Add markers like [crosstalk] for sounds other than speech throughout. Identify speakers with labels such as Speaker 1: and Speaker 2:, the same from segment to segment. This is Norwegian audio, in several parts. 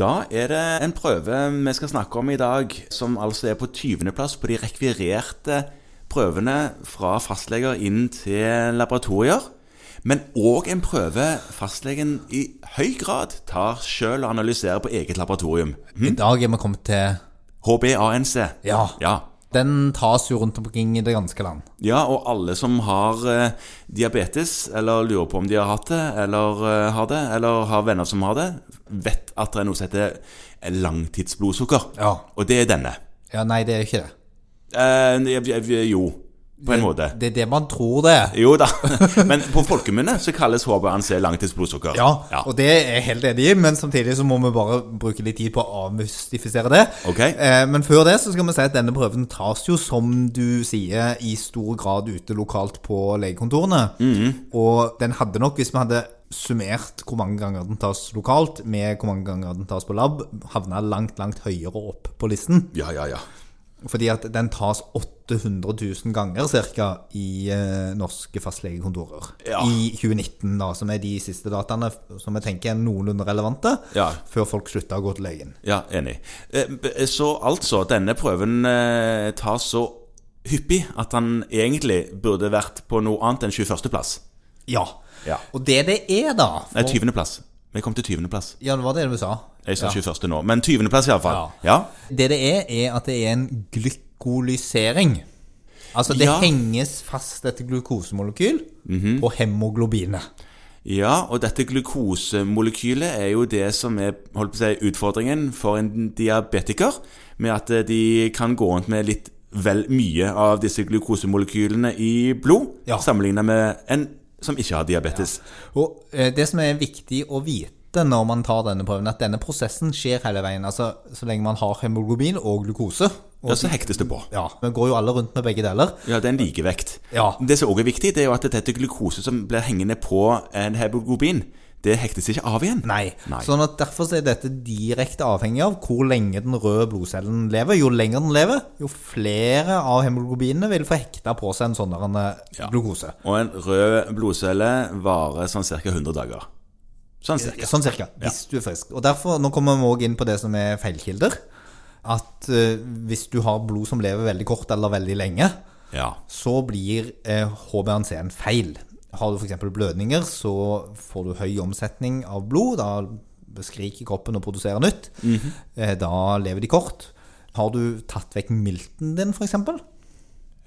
Speaker 1: Da er det en prøve vi skal snakke om i dag, som altså er på 20. plass på de rekvirerte prøvene fra fastleger inn til laboratorier. Men òg en prøve fastlegen i høy grad tar sjøl og analyserer på eget laboratorium.
Speaker 2: I dag er vi kommet til
Speaker 1: HBANC.
Speaker 2: Ja.
Speaker 1: ja.
Speaker 2: Den tas jo rundt omkring i det ganske land.
Speaker 1: Ja, og alle som har eh, diabetes, eller lurer på om de har hatt det, eller eh, har det, eller har venner som har det, vet at det er noe som heter langtidsblodsukker.
Speaker 2: Ja.
Speaker 1: Og det er denne.
Speaker 2: Ja, nei, det er jo ikke det.
Speaker 1: Eh, jeg- jeg- jeg- jo, på en måte.
Speaker 2: Det er det man tror det er.
Speaker 1: Jo da. [laughs] Men på folkemunne så kalles HBNC langtidsblodsukker.
Speaker 2: Ja,
Speaker 1: ja.
Speaker 2: og det er jeg helt enig i, men samtidig så må vi bare bruke litt tid på å avmystifisere det.
Speaker 1: Ok.
Speaker 2: Eh, Men før det så skal vi si at denne prøven tas jo, som du sier, i stor grad ute lokalt på legekontorene.
Speaker 1: Mhm.
Speaker 2: Og den hadde nok, hvis vi hadde summert hvor mange ganger den tas lokalt, med hvor mange ganger den tas på lab, havna langt, langt høyere opp på listen.
Speaker 1: ja, ja, ja.
Speaker 2: Fordi at den tas 800 000 ganger ca. i eh, norske fastlegekontorer.
Speaker 1: Ja.
Speaker 2: I 2019, da, som er de siste dataene f- som jeg tenker er noenlunde relevante.
Speaker 1: Ja.
Speaker 2: Før folk slutta å gå til legen.
Speaker 1: Ja, enig. Eh, b- Så altså, denne prøven eh, tas så hyppig at han egentlig burde vært på noe annet enn 21. plass.
Speaker 2: Ja.
Speaker 1: Ja.
Speaker 2: Og det det er, da
Speaker 1: Nei, 20. plass. Vi kom til 20. plass.
Speaker 2: Ja, det var det du sa.
Speaker 1: Jeg sa
Speaker 2: Ja.
Speaker 1: 21. nå, men 20. plass iallfall. Ja.
Speaker 2: Det det er, er at det er en glykolysering. Altså, det
Speaker 1: Ja. Mhm.
Speaker 2: henges fast et glukosemolekyl på hemoglobinet.
Speaker 1: ja, og dette glukosemolekylet er jo det som er holdt på å si, utfordringen for en diabetiker, med at eh, de kan gå rundt med litt vel mye av disse glukosemolekylene i blod,
Speaker 2: Ja.
Speaker 1: sammenlignet med en som ikke har diabetes.
Speaker 2: Og eh, det som er viktig å vite når man tar denne prøven, at denne prosessen skjer hele veien. Altså så lenge man har hemoglobin og glukose. Og,
Speaker 1: Ja, så hektes det på.
Speaker 2: ja, vi går jo alle rundt med begge deler.
Speaker 1: Ja, det er en likevekt.
Speaker 2: Ja.
Speaker 1: Det som også er viktig, det er jo at dette glukose som blir hengende på en hemoglobin, det hektes ikke av igjen.
Speaker 2: Nei.
Speaker 1: Nei.
Speaker 2: Sånn at derfor så er dette direkte avhengig av hvor lenge den røde blodcellen lever. Jo lenger den lever, jo flere av hemoglobinene vil få hekta på seg en sånn der, eh, glukose.
Speaker 1: Og en rød blodcelle varer sånn ca. 100 dager. Sånn cirka.
Speaker 2: Sånn cirka, hvis du er frisk. Og derfor, nå kommer vi også inn på det som er feilkilder. At eh, hvis du har blod som lever veldig kort eller veldig lenge,
Speaker 1: Ja.
Speaker 2: så blir eh, HBNC en feil. Har du f.eks. blødninger, så får du høy omsetning av blod. Da skriker kroppen og produserer nytt.
Speaker 1: Mhm.
Speaker 2: eh, da lever de kort. Har du tatt vekk milten din, f.eks.?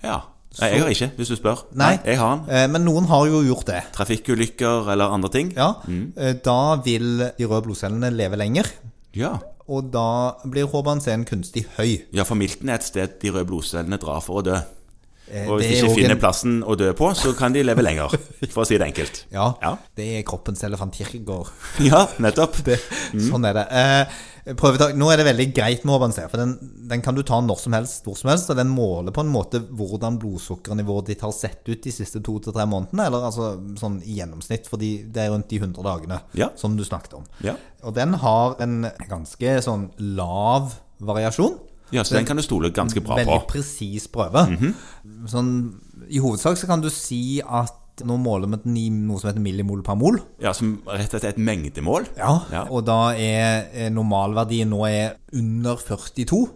Speaker 1: ja. Nei, jeg har ikke, hvis du spør. Jeg har den.
Speaker 2: Eh, men noen har jo gjort det.
Speaker 1: Trafikkulykker eller andre ting.
Speaker 2: Ja. Eh, da vil de røde blodcellene leve lenger.
Speaker 1: Ja.
Speaker 2: Og da blir HBNC-en kunstig høy.
Speaker 1: Ja, for milten er et sted de røde blodcellene drar for å dø.
Speaker 2: Eh,
Speaker 1: Og hvis de
Speaker 2: det er
Speaker 1: ikke
Speaker 2: også en-
Speaker 1: finner plassen å dø på, så kan de leve
Speaker 2: [laughs]
Speaker 1: lenger, for å si det enkelt.
Speaker 2: Ja,
Speaker 1: Ja.
Speaker 2: Det er kroppens elefantjirkegård.
Speaker 1: Ja, nettopp.
Speaker 2: [laughs] det, Sånn er det. Eh, prøvetak, nå er det veldig greit med Urban C, for den, den kan du ta når som helst, hvor som helst, og den måler på en måte hvordan blodsukkernivået ditt har sett ut de siste to til tre månedene, eller altså sånn i gjennomsnitt, fordi det er rundt de 100 dagene
Speaker 1: Ja.
Speaker 2: som du snakket om.
Speaker 1: Ja.
Speaker 2: Og den har en ganske sånn lav variasjon.
Speaker 1: Ja, Så den kan du stole ganske bra på.
Speaker 2: Veldig presis prøve.
Speaker 1: Mhm.
Speaker 2: sånn, I hovedsak så kan du si at nå måler vi den i noe som heter millimol per mol.
Speaker 1: Ja, Som rett og slett er et mengdemål.
Speaker 2: Ja,
Speaker 1: Ja.
Speaker 2: og da er er normalverdien nå er under 42.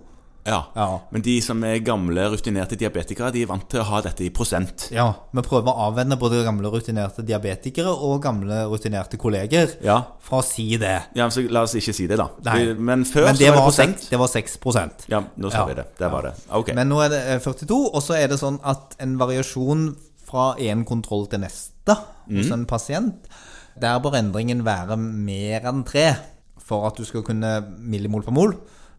Speaker 1: Ja.
Speaker 2: Ja.
Speaker 1: Men de som er gamle, rutinerte diabetikere, de er vant til å ha dette i prosent.
Speaker 2: Ja, Vi prøver å avvenne både gamle rutinerte diabetikere og gamle rutinerte kolleger
Speaker 1: Ja.
Speaker 2: fra å si det.
Speaker 1: Ja, så La oss ikke si det, da.
Speaker 2: Nei.
Speaker 1: Men før
Speaker 2: Men
Speaker 1: så
Speaker 2: det
Speaker 1: var det
Speaker 2: var,
Speaker 1: prosent.
Speaker 2: 6, det var 6
Speaker 1: Ja, nå sa
Speaker 2: Ja.
Speaker 1: vi det. Der var det. Ok.
Speaker 2: Men nå er det eh, 42, og så er det sånn at en variasjon fra én kontroll til neste
Speaker 1: Mm.
Speaker 2: hos en pasient, der bør endringen være mer enn tre for at du skal kunne millimol per mol,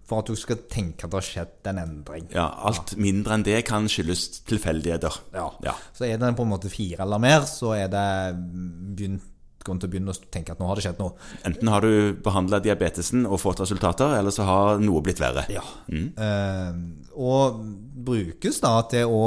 Speaker 2: for at du skal tenke at det har skjedd en endring.
Speaker 1: ja, alt mindre enn det kan skyldes tilfeldigheter.
Speaker 2: Ja.
Speaker 1: Ja.
Speaker 2: Så er den på en måte fire eller mer, så er det begynt, grunn til å begynne å tenke at nå har det skjedd noe.
Speaker 1: Enten har du behandla diabetesen og fått resultater, eller så har noe blitt verre.
Speaker 2: Ja. Eh, og brukes da til å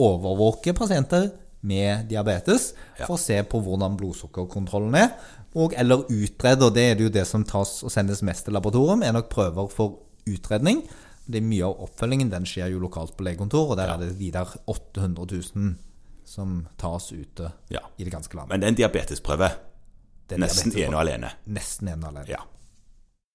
Speaker 2: overvåke pasienter med diabetes for å se på hvordan blodsukkerkontrollen er, og eller utrede, og det er det jo det som tas og sendes mest til laboratorium, er nok prøver for utredning. Det er mye av oppfølgingen, den skjer jo lokalt på legekontor, og der er det de der 800 000 som tas ute
Speaker 1: Ja.
Speaker 2: i det ganske land.
Speaker 1: Men det er en diabetesprøve.
Speaker 2: det
Speaker 1: Nesten
Speaker 2: diabetes-
Speaker 1: ene og alene.
Speaker 2: Nesten ene alene.
Speaker 1: Ja.